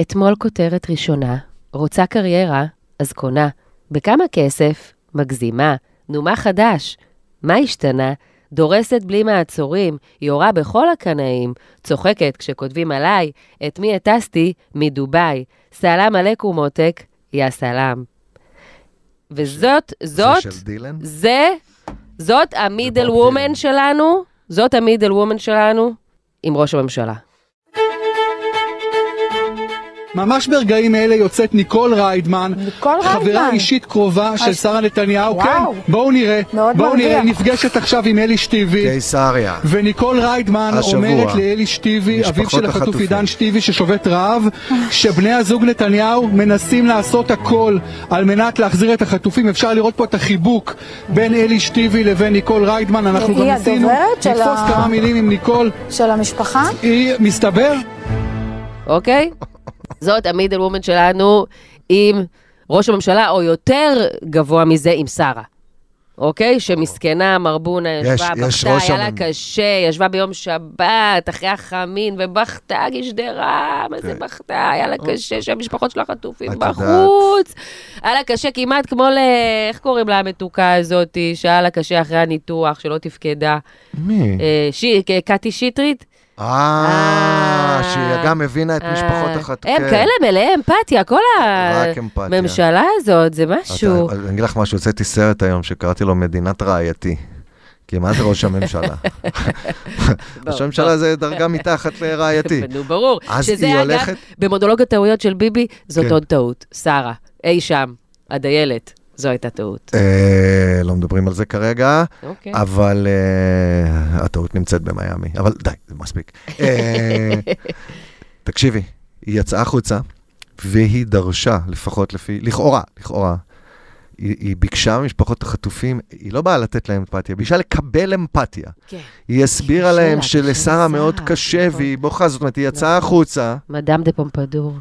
[SPEAKER 2] אתמול כותרת ראשונה, רוצה קריירה, אז קונה. בכמה כסף? מגזימה. נו, מה חדש? מה השתנה? דורסת בלי מעצורים, יורה בכל הקנאים, צוחקת כשכותבים עליי, את מי הטסתי? מדובאי. סלאם עליכום עותק, יא סלאם. וזאת, זאת,
[SPEAKER 1] של דילן?
[SPEAKER 2] זה, זאת המידל וומן שלנו, זאת המידל וומן שלנו עם ראש הממשלה.
[SPEAKER 15] ממש ברגעים אלה יוצאת ניקול ריידמן, ניקול חברה
[SPEAKER 16] ריידמן.
[SPEAKER 15] אישית קרובה של
[SPEAKER 16] אז-
[SPEAKER 15] שרה נתניהו,
[SPEAKER 16] וואו.
[SPEAKER 15] כן, בואו נראה,
[SPEAKER 16] מאוד
[SPEAKER 15] בואו
[SPEAKER 16] מרגיע.
[SPEAKER 15] נראה, נפגשת עכשיו עם אלי שטיבי,
[SPEAKER 1] קיסריה.
[SPEAKER 15] וניקול ריידמן
[SPEAKER 1] השבוע.
[SPEAKER 15] אומרת לאלי שטיבי, אביו
[SPEAKER 1] משפחות
[SPEAKER 15] של החטוף
[SPEAKER 1] החטופים.
[SPEAKER 15] עידן שטיבי ששובת רעב, שבני הזוג נתניהו מנסים לעשות הכל על מנת להחזיר את החטופים, אפשר לראות פה את החיבוק בין אלי שטיבי לבין ניקול ריידמן, אנחנו גם
[SPEAKER 16] היא
[SPEAKER 15] ניסינו
[SPEAKER 16] הדוברת של ה-
[SPEAKER 15] לתפוס כמה מילים עם ניקול,
[SPEAKER 16] של המשפחה?
[SPEAKER 15] היא מסתבר
[SPEAKER 2] אוקיי? זאת המידל וומן שלנו עם ראש הממשלה, או יותר גבוה מזה, עם שרה. אוקיי? שמסכנה, מרבונה, ישבה,
[SPEAKER 1] יש- יש
[SPEAKER 2] בכתה,
[SPEAKER 1] ראש
[SPEAKER 2] היה לה
[SPEAKER 1] הממ-
[SPEAKER 2] קשה, ישבה ביום שבת, אחרי החמין, ובכתה, גשדרה, מה
[SPEAKER 1] כן.
[SPEAKER 2] זה בכתה, היה לה
[SPEAKER 1] אוקיי.
[SPEAKER 2] קשה שהמשפחות של החטופים
[SPEAKER 13] את יודעת.
[SPEAKER 2] בחוץ. היה לה קשה כמעט כמו ל... איך קוראים לה המתוקה הזאת, שהיה לה קשה אחרי הניתוח, שלא תפקדה.
[SPEAKER 1] מי?
[SPEAKER 2] אה, ש- קטי שטרית?
[SPEAKER 1] אה, שהיא גם הבינה את משפחות כן. החטופים.
[SPEAKER 2] אה. הם כאלה מלאי אמפתיה, כל
[SPEAKER 1] רק אמפתיה.
[SPEAKER 2] הממשלה הזאת, זה משהו.
[SPEAKER 1] אני אגיד לך משהו, הוצאתי סרט היום שקראתי לו מדינת רעייתי. כמעט ראש הממשלה. ראש הממשלה זה דרגה מתחת לרעייתי.
[SPEAKER 2] לא, נו, ברור.
[SPEAKER 1] אז
[SPEAKER 2] שזה,
[SPEAKER 1] היא
[SPEAKER 2] אגב,
[SPEAKER 1] הולכת-
[SPEAKER 2] במונולוג הטעויות של ביבי, זאת
[SPEAKER 1] כן.
[SPEAKER 2] עוד טעות. שרה, אי שם, הדיילת, זו הייתה טעות.
[SPEAKER 1] אה, לא מדברים על זה כרגע,
[SPEAKER 2] אוקיי.
[SPEAKER 1] אבל אה, הטעות נמצאת במיאמי. אבל די, זה מספיק. אה, תקשיבי, היא יצאה החוצה, והיא דרשה, לפחות לפי, לכאורה, לכאורה, היא, היא ביקשה ממשפחות החטופים, היא לא באה לתת להם אמפתיה, היא ביקשה לקבל אמפתיה.
[SPEAKER 2] כן.
[SPEAKER 1] היא הסבירה להם שלשרה מאוד קשה
[SPEAKER 2] נכון.
[SPEAKER 1] והיא בוכה, זאת אומרת, היא יצאה החוצה,
[SPEAKER 2] מדאם דה פומפדור.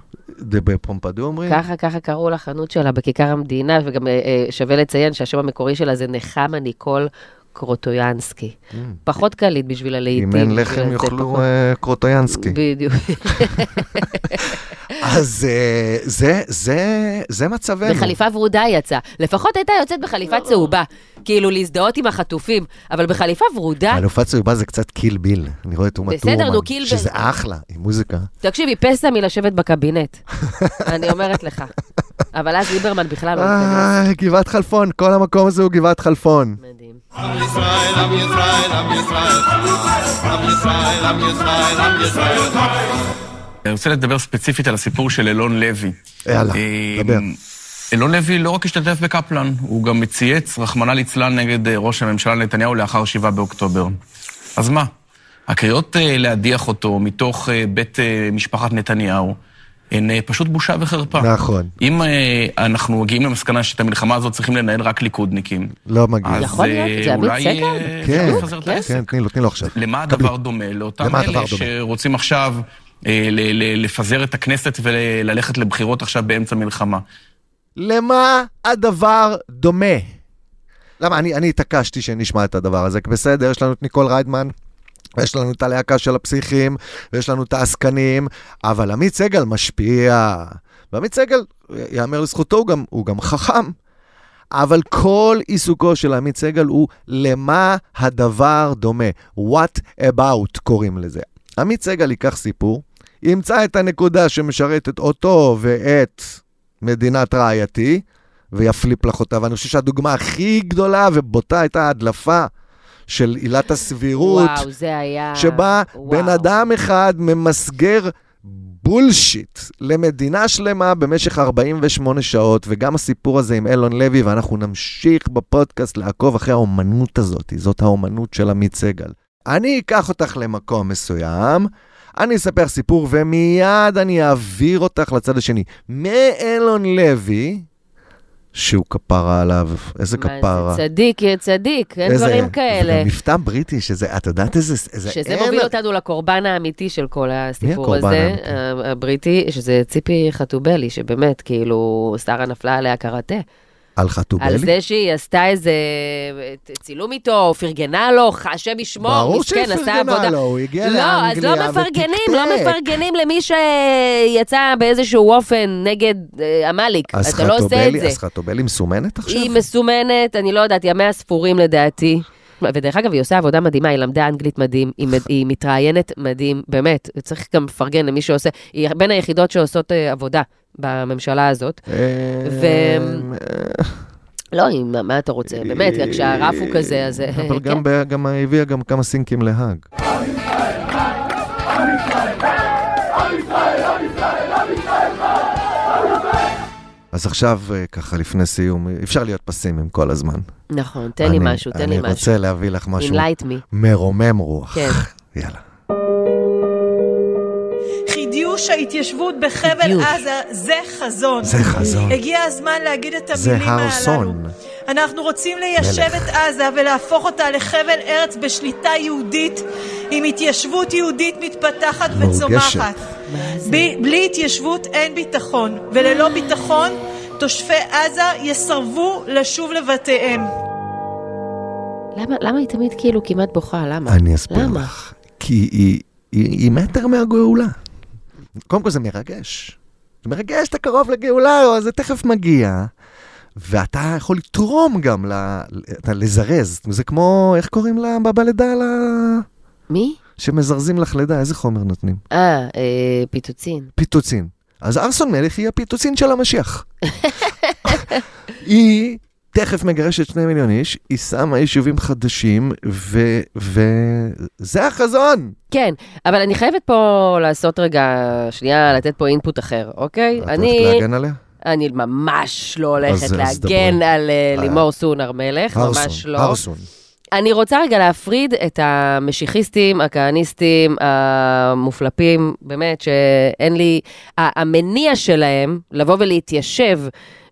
[SPEAKER 1] זה בפומפדו אומרים?
[SPEAKER 2] ככה, ככה קראו לחנות שלה בכיכר המדינה, וגם אה, אה, שווה לציין שהשם המקורי שלה זה נחמה ניקול קרוטויאנסקי. פחות קליט בשביל הלהיטים.
[SPEAKER 1] Mm. אם אין
[SPEAKER 2] בשביל
[SPEAKER 1] לחם
[SPEAKER 2] זה
[SPEAKER 1] יאכלו
[SPEAKER 2] פחות.
[SPEAKER 1] אה, קרוטויאנסקי.
[SPEAKER 2] בדיוק.
[SPEAKER 1] אז אה, זה, זה, זה מצבנו.
[SPEAKER 2] בחליפה ורודה היא יצאה. לפחות הייתה יוצאת בחליפה
[SPEAKER 1] לא.
[SPEAKER 2] צהובה. כאילו להזדהות עם החטופים, אבל בחליפה ורודה...
[SPEAKER 1] אלופת צהובה זה קצת קיל ביל, אני רואה את אומה
[SPEAKER 2] אה? בסדר,
[SPEAKER 1] טורמן,
[SPEAKER 2] נו, קיל ביל.
[SPEAKER 1] שזה אחלה, עם מוזיקה.
[SPEAKER 2] תקשיב, היא פסע מלשבת בקבינט. אני אומרת לך. אבל אז ליברמן בכלל לא... התכוון.
[SPEAKER 1] אה, גבעת חלפון, כל המקום הזה הוא גבעת חלפון.
[SPEAKER 3] ישראל, עם ישראל, עם ישראל. עם ישראל, עם ישראל, עם ישראל.
[SPEAKER 13] אני רוצה לדבר ספציפית על הסיפור של אלון לוי.
[SPEAKER 1] יאללה,
[SPEAKER 13] אה, אלון לוי לא רק השתתף בקפלן, הוא גם צייץ, רחמנא ליצלן, נגד אה, ראש הממשלה נתניהו לאחר 7 באוקטובר. אז מה? הקריאות אה, להדיח אותו מתוך אה, בית אה, משפחת נתניהו הן אה, פשוט בושה וחרפה.
[SPEAKER 1] נכון.
[SPEAKER 13] אם אה, אנחנו מגיעים למסקנה שאת המלחמה הזאת צריכים לנהל רק ליכודניקים,
[SPEAKER 1] לא מגיע.
[SPEAKER 13] אז, יכול להיות, אה, זה עמית אולי, סגל? אה,
[SPEAKER 1] כן,
[SPEAKER 13] אפשר לפזר את
[SPEAKER 1] כן, כן, תני לו, תני לו עכשיו.
[SPEAKER 13] למה
[SPEAKER 1] קבלי.
[SPEAKER 13] הדבר דומה? לאותם
[SPEAKER 1] למה הדבר
[SPEAKER 13] אלה
[SPEAKER 1] דומה?
[SPEAKER 13] שרוצים עכשיו אה, ל- ל- לפזר את הכנסת וללכת לבחירות עכשיו באמצע מלחמה.
[SPEAKER 1] למה הדבר דומה? למה, אני, אני התעקשתי שנשמע את הדבר הזה, כי בסדר, יש לנו את ניקול ריידמן, יש לנו את הלהקה של הפסיכים, ויש לנו את העסקנים, אבל עמית סגל משפיע. ועמית סגל, יאמר לזכותו, הוא גם, הוא גם חכם. אבל כל עיסוקו של עמית סגל הוא למה הדבר דומה. What about קוראים לזה. עמית סגל ייקח סיפור, ימצא את הנקודה שמשרתת אותו ואת מדינת רעייתי, ויפליפ לך אותה. ואני חושב שהדוגמה הכי גדולה ובוטה הייתה ההדלפה של עילת הסבירות.
[SPEAKER 2] וואו, זה היה...
[SPEAKER 1] שבה
[SPEAKER 2] וואו.
[SPEAKER 1] בן אדם אחד ממסגר בולשיט למדינה שלמה במשך 48 שעות, וגם הסיפור הזה עם אלון לוי, ואנחנו נמשיך בפודקאסט לעקוב אחרי האומנות הזאת, זאת האומנות של עמית סגל. אני אקח אותך למקום מסוים, אני אספר סיפור ומיד אני אעביר אותך לצד השני. מאלון לוי, שהוא כפרה עליו, איזה
[SPEAKER 2] מה, זה
[SPEAKER 1] כפרה.
[SPEAKER 2] צדיק, אה, צדיק, אין
[SPEAKER 1] איזה-
[SPEAKER 2] דברים כאלה.
[SPEAKER 1] ומבטא בריטי, שזה, את יודעת איזה... איזה-
[SPEAKER 2] שזה
[SPEAKER 1] אין-
[SPEAKER 2] מוביל אותנו לקורבן האמיתי של כל הסיפור
[SPEAKER 1] הקורבן
[SPEAKER 2] הזה,
[SPEAKER 1] האמיתי?
[SPEAKER 2] ה- הבריטי, שזה ציפי חטובלי, שבאמת, כאילו, שרה נפלה עליה קראטה.
[SPEAKER 1] על חטובלי?
[SPEAKER 2] על זה שהיא עשתה איזה אה, צילום איתו, או פרגנה לו, ח- השם ישמור,
[SPEAKER 1] ברור
[SPEAKER 2] מסכן,
[SPEAKER 1] שהיא
[SPEAKER 2] עשה
[SPEAKER 1] פרגנה
[SPEAKER 2] עבודה.
[SPEAKER 1] לו, הוא הגיע
[SPEAKER 2] לא, אז
[SPEAKER 1] לאנגליה
[SPEAKER 2] לא מפרגנים, לא
[SPEAKER 1] וטיקטק.
[SPEAKER 2] מפרגנים למי שיצא באיזשהו אופן נגד אה, עמליק.
[SPEAKER 1] אז
[SPEAKER 2] אתה לא עושה את
[SPEAKER 1] חטובלי,
[SPEAKER 2] זה.
[SPEAKER 1] אז חטובלי מסומנת עכשיו?
[SPEAKER 2] היא מסומנת, אני לא יודעת, ימיה ספורים לדעתי. ודרך אגב, היא עושה עבודה מדהימה, היא למדה אנגלית מדהים, היא, מד- היא מתראיינת מדהים, באמת. צריך גם לפרגן למי שעושה, היא בין היחידות שעושות אה, עבודה בממשלה הזאת. ו...
[SPEAKER 1] אה,
[SPEAKER 2] לא, היא- מה- מה אתה רוצה? באמת, כשהרף הוא כזה, אז... אה,
[SPEAKER 1] אבל גם ב- גם הביאה גם כמה סינקים להאג. אז עכשיו, אה, ככה לפני סיום, אה, אפשר להיות פסימיים כל הזמן.
[SPEAKER 2] נכון, תן לי
[SPEAKER 1] אני-
[SPEAKER 2] משהו, תן לי משהו.
[SPEAKER 1] אני רוצה להביא לך משהו
[SPEAKER 2] Enlight me.
[SPEAKER 1] מרומם רוח.
[SPEAKER 2] כן.
[SPEAKER 1] יאללה.
[SPEAKER 16] חידיוש ההתיישבות בחבל
[SPEAKER 1] חידיוש.
[SPEAKER 16] עזה זה חזון.
[SPEAKER 1] זה חזון.
[SPEAKER 16] הגיע הזמן להגיד את
[SPEAKER 1] זה
[SPEAKER 16] המילים
[SPEAKER 1] הר
[SPEAKER 16] הללו.
[SPEAKER 1] סון.
[SPEAKER 16] אנחנו רוצים ליישב
[SPEAKER 1] מלך.
[SPEAKER 16] את עזה ולהפוך אותה לחבל ארץ בשליטה יהודית, עם התיישבות יהודית מתפתחת
[SPEAKER 1] מורגשת.
[SPEAKER 16] וצומחת. ב- בלי התיישבות אין ביטחון, וללא ביטחון תושבי עזה יסרבו לשוב לבתיהם.
[SPEAKER 2] למה- למה היא תמיד כאילו כמעט בוכה? למה?
[SPEAKER 1] אני אסביר
[SPEAKER 2] למה?
[SPEAKER 1] לך. כי היא- היא היא מטר מהגאולה. קודם כל זה מרגש. זה מרגש, אתה קרוב לגאולה, או, זה תכף מגיע. ואתה יכול לתרום גם, ל... אתה לזרז. זה כמו, איך קוראים לה בבא לידה? ל...
[SPEAKER 2] מי?
[SPEAKER 1] שמזרזים לך לידה, איזה חומר נותנים?
[SPEAKER 2] אה, אה, פיצוצין.
[SPEAKER 1] פיצוצין. אז ארסון מלך היא הפיצוצין של המשיח. היא תכף מגרשת שני מיליון איש, היא שמה יישובים חדשים, ו... וזה החזון!
[SPEAKER 2] כן, אבל אני חייבת פה לעשות רגע, שנייה, לתת פה אינפוט אחר, אוקיי? אני...
[SPEAKER 1] הולכת להגן עליה?
[SPEAKER 2] אני ממש לא
[SPEAKER 1] אז-
[SPEAKER 2] הולכת
[SPEAKER 1] אז
[SPEAKER 2] להגן
[SPEAKER 1] דברי.
[SPEAKER 2] על אה,
[SPEAKER 1] אה.
[SPEAKER 2] לימור סון הר מלך, ממש לא.
[SPEAKER 1] הרסון.
[SPEAKER 2] אני רוצה רגע להפריד את המשיחיסטים, הכהניסטים, המופלפים, באמת, שאין לי... ה- המניע שלהם לבוא ולהתיישב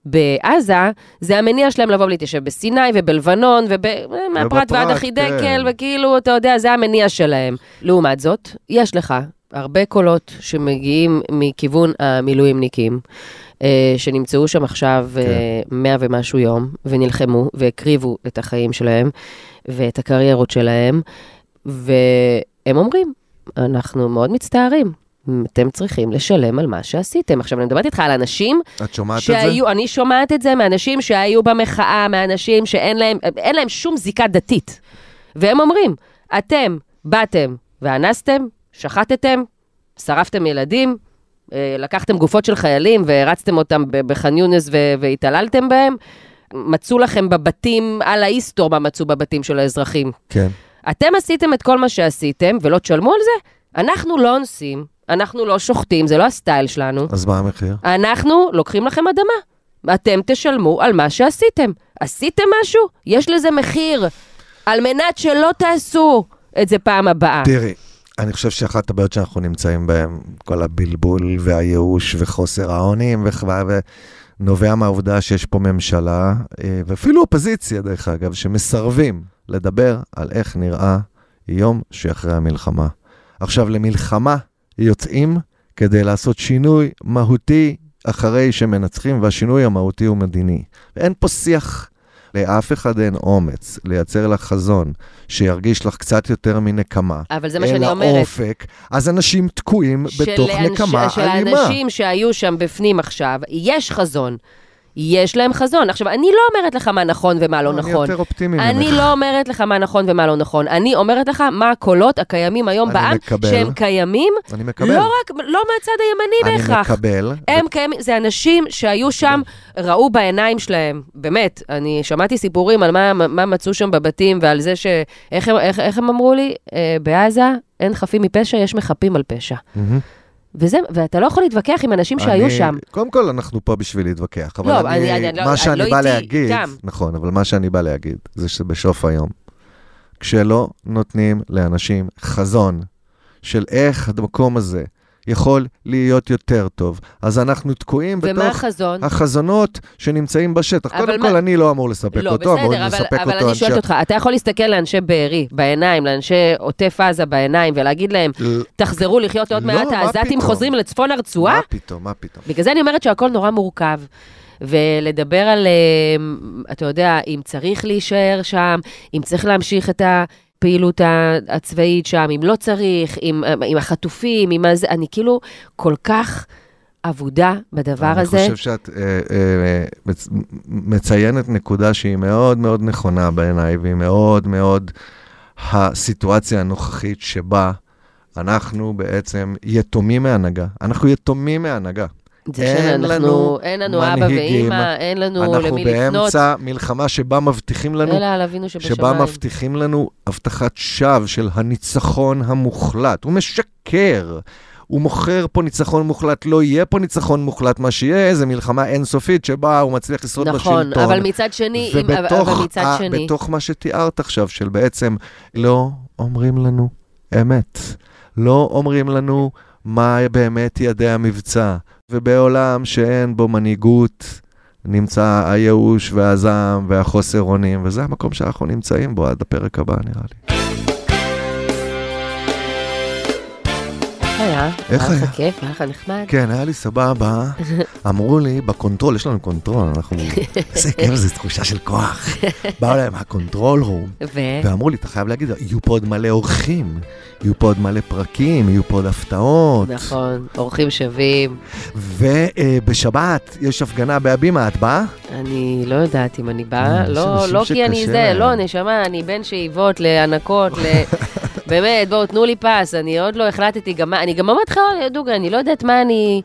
[SPEAKER 2] בעזה, זה המניע שלהם לבוא ולהתיישב בסיני ובלבנון, ומהפרת
[SPEAKER 16] ובפרט,
[SPEAKER 2] ועד החידקל,
[SPEAKER 16] כן.
[SPEAKER 2] וכאילו, אתה יודע, זה המניע שלהם. לעומת זאת, יש לך הרבה קולות שמגיעים מכיוון המילואימניקים, אה, שנמצאו שם עכשיו
[SPEAKER 16] כן.
[SPEAKER 2] אה, מאה ומשהו יום, ונלחמו, והקריבו את החיים שלהם, ואת הקריירות שלהם, והם אומרים, אנחנו מאוד מצטערים. אתם צריכים לשלם על מה שעשיתם. עכשיו, אני מדברת איתך על אנשים
[SPEAKER 1] את שומעת את זה?
[SPEAKER 2] שהיו, אני שומעת את זה מאנשים שהיו במחאה, מאנשים שאין להם, אין להם שום זיקה דתית. והם אומרים, אתם באתם ואנסתם, שחטתם, שרפתם ילדים, אה, לקחתם גופות של חיילים והרצתם אותם ב- בח'אן יונס ו- והתעללתם בהם, מצאו לכם בבתים, על האיסטור מה מצאו בבתים של האזרחים.
[SPEAKER 1] כן.
[SPEAKER 2] אתם עשיתם את כל מה שעשיתם ולא תשלמו על זה? אנחנו לא אונסים, אנחנו לא שוחטים, זה לא הסטייל שלנו.
[SPEAKER 1] אז מה המחיר?
[SPEAKER 2] אנחנו לוקחים לכם אדמה. אתם תשלמו על מה שעשיתם. עשיתם משהו? יש לזה מחיר. על מנת שלא תעשו את זה פעם הבאה.
[SPEAKER 1] תראי, אני חושב שאחת הבעיות שאנחנו נמצאים בהן, כל הבלבול והייאוש וחוסר האונים וכו', ו... נובע מהעובדה שיש פה ממשלה, אה, ואפילו אופוזיציה דרך אגב, שמסרבים לדבר על איך נראה יום שאחרי המלחמה. עכשיו, למלחמה יוצאים כדי לעשות שינוי מהותי אחרי שמנצחים, והשינוי המהותי הוא מדיני. ואין פה שיח. לאף אחד אין אומץ לייצר לך חזון שירגיש לך קצת יותר מנקמה.
[SPEAKER 2] אבל זה מה שאני אומרת.
[SPEAKER 1] אלא אופק, אז אנשים תקועים בתוך
[SPEAKER 2] שלאנש-
[SPEAKER 1] נקמה
[SPEAKER 2] של
[SPEAKER 1] אלימה.
[SPEAKER 2] האנשים שהיו שם בפנים עכשיו, יש חזון. יש להם חזון. עכשיו, אני לא אומרת לך מה נכון ומה לא
[SPEAKER 1] אני
[SPEAKER 2] נכון.
[SPEAKER 1] יותר אופטימי
[SPEAKER 2] אני
[SPEAKER 1] ממך.
[SPEAKER 2] לא אומרת לך מה נכון ומה לא נכון. אני אומרת לך מה הקולות הקיימים היום
[SPEAKER 1] אני
[SPEAKER 2] בעם,
[SPEAKER 1] מקבל.
[SPEAKER 2] שהם קיימים,
[SPEAKER 1] אני מקבל.
[SPEAKER 2] לא רק, לא מהצד הימני
[SPEAKER 1] אני
[SPEAKER 2] בהכרח.
[SPEAKER 1] מקבל.
[SPEAKER 2] הם קיימים, זה אנשים שהיו שם,
[SPEAKER 1] כן.
[SPEAKER 2] ראו בעיניים שלהם, באמת, אני שמעתי סיפורים על מה, מה מצאו שם בבתים ועל זה ש... איך הם, איך, איך הם אמרו לי? אה, בעזה אין חפים מפשע, יש מחפים על פשע.
[SPEAKER 1] מהמם.
[SPEAKER 2] וזה, ואתה לא יכול להתווכח עם אנשים שהיו
[SPEAKER 1] אני-
[SPEAKER 2] שם.
[SPEAKER 1] קודם כל, אנחנו פה בשביל להתווכח, אבל
[SPEAKER 2] לא,
[SPEAKER 1] אני,
[SPEAKER 2] אני- אני לא-
[SPEAKER 1] מה
[SPEAKER 2] אני
[SPEAKER 1] שאני
[SPEAKER 2] לא
[SPEAKER 1] בא
[SPEAKER 2] איתי,
[SPEAKER 1] להגיד,
[SPEAKER 2] איתם.
[SPEAKER 1] נכון, אבל מה שאני בא להגיד, זה שבשוף היום, כשלא נותנים לאנשים חזון של איך המקום הזה יכול להיות יותר טוב, אז אנחנו תקועים
[SPEAKER 2] ומה
[SPEAKER 1] בתוך
[SPEAKER 2] החזון?
[SPEAKER 1] אה, החזונות שנמצאים בשטח.
[SPEAKER 2] אבל
[SPEAKER 1] קודם
[SPEAKER 2] מה-
[SPEAKER 1] כל, אני לא אמור לספק
[SPEAKER 2] לא,
[SPEAKER 1] אותו, אמורים
[SPEAKER 2] בסדר, אבל,
[SPEAKER 1] לספק
[SPEAKER 2] אבל
[SPEAKER 1] אותו
[SPEAKER 2] אני שואלת אותך, אתה יכול להסתכל לאנשי בארי בעיניים, לאנשי עוטף עזה בעיניים, ולהגיד להם,
[SPEAKER 1] ל-
[SPEAKER 2] תחזרו לחיות עוד
[SPEAKER 1] לא,
[SPEAKER 2] מעט,
[SPEAKER 1] מה
[SPEAKER 2] העזתים
[SPEAKER 1] פתאום?
[SPEAKER 2] חוזרים לצפון הרצועה?
[SPEAKER 1] מה פתאום, מה פתאום?
[SPEAKER 2] בגלל זה אני אומרת שהכל נורא מורכב. ולדבר על, אה, אתה יודע, אם צריך להישאר שם, אם צריך להמשיך את הפעילות ה- הצבאית שם, אם לא צריך, עם, עם החטופים, עם הזה, אני כאילו כל כך אבודה בדבר הזה.
[SPEAKER 1] אני חושב שאת אה, אה, מצ- מציינת נקודה שהיא מאוד מאוד נכונה בעיניי, והיא מאוד מאוד הסיטואציה הנוכחית שבה אנחנו בעצם יתומים מהנהגה. אנחנו יתומים מהנהגה.
[SPEAKER 2] זה שאנחנו- אין לנו אבא ואימא, אין לנו למי לפנות. אה,
[SPEAKER 1] אנחנו באמצע מלחמה שבה מבטיחים לנו...
[SPEAKER 2] אלא על אבינו שבשמיים.
[SPEAKER 1] שבה מבטיחים לנו הבטחת שווא של הניצחון המוחלט. הוא משקר. הוא מוכר פה ניצחון מוחלט, לא יהיה פה ניצחון מוחלט, מה שיהיה זה מלחמה אינסופית שבה הוא מצליח לשרוד בשלטון.
[SPEAKER 2] נכון, אבל מצד שני, אם- אבל-
[SPEAKER 1] ובתוך
[SPEAKER 2] אבל מצד
[SPEAKER 1] ה-
[SPEAKER 2] שני,
[SPEAKER 1] בתוך מה שתיארת עכשיו, של בעצם לא אומרים לנו אמת. לא אומרים לנו מה באמת יעדי המבצע. ובעולם שאין בו מנהיגות, נמצא הייאוש והזעם והחוסר אונים, וזה המקום שאנחנו נמצאים בו עד הפרק הבא, נראה לי.
[SPEAKER 2] איך היה?
[SPEAKER 1] איך
[SPEAKER 2] היה
[SPEAKER 1] היה?
[SPEAKER 2] לך כיף, היה לך נחמד.
[SPEAKER 1] כן, היה לי סבבה. אמרו לי, בקונטרול, יש לנו קונטרול, אנחנו... איזה כיף, זו תחושה של כוח. באו להם הקונטרול רום,
[SPEAKER 2] ו?
[SPEAKER 1] ואמרו לי, אתה חייב להגיד, יהיו פה עוד מלא אורחים, יהיו פה עוד מלא פרקים, יהיו פה עוד הפתעות.
[SPEAKER 2] נכון, אורחים שווים.
[SPEAKER 1] ובשבת יש הפגנה בהבימה, את באה?
[SPEAKER 2] אני לא יודעת אם אני באה,
[SPEAKER 1] אה, יש
[SPEAKER 2] לא,
[SPEAKER 1] אנשים
[SPEAKER 2] לא כי אני
[SPEAKER 1] שקשה
[SPEAKER 2] זה,
[SPEAKER 1] להם.
[SPEAKER 2] לא, נשמה, אני בין שאיבות לענקות, ל... באמת, בואו, תנו לי פס, אני עוד לא החלטתי גם מה, אני גם אומרת לך, דוגרי, אני לא יודעת מה אני...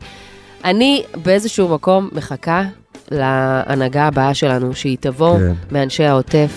[SPEAKER 2] אני באיזשהו מקום מחכה להנהגה הבאה שלנו, שהיא תבוא
[SPEAKER 1] כן.
[SPEAKER 2] מאנשי העוטף,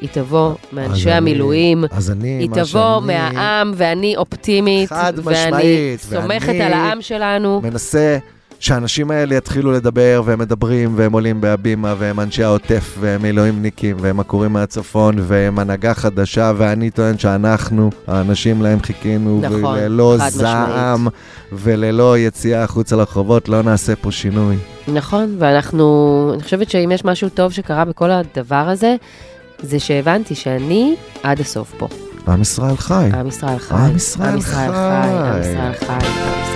[SPEAKER 2] היא תבוא מאנשי
[SPEAKER 1] אני-
[SPEAKER 2] המילואים,
[SPEAKER 1] אז אני,
[SPEAKER 2] היא
[SPEAKER 1] מה
[SPEAKER 2] תבוא
[SPEAKER 1] שאני-
[SPEAKER 2] מהעם, ואני אופטימית,
[SPEAKER 1] חד
[SPEAKER 2] ואני
[SPEAKER 1] משמעית,
[SPEAKER 2] סומכת
[SPEAKER 1] ואני-
[SPEAKER 2] על העם שלנו.
[SPEAKER 1] מנסה שהאנשים האלה יתחילו לדבר, והם מדברים, והם עולים בהבימה, והם אנשי העוטף, והם מילואימניקים, והם עקורים מהצפון, והם הנהגה חדשה, ואני טוען שאנחנו, האנשים להם חיכינו,
[SPEAKER 2] נכון,
[SPEAKER 1] וללא
[SPEAKER 2] חד
[SPEAKER 1] זעם, וללא יציאה החוצה לרחובות, לא נעשה פה שינוי.
[SPEAKER 2] נכון, ואנחנו, אני חושבת שאם יש משהו טוב שקרה בכל הדבר הזה, זה שהבנתי שאני עד הסוף פה.
[SPEAKER 1] עם ישראל חי.
[SPEAKER 2] עם ישראל חי.
[SPEAKER 1] עם ישראל אה,
[SPEAKER 2] אה, עם ישראל חי. עם ישראל חי. עם ישראל חי.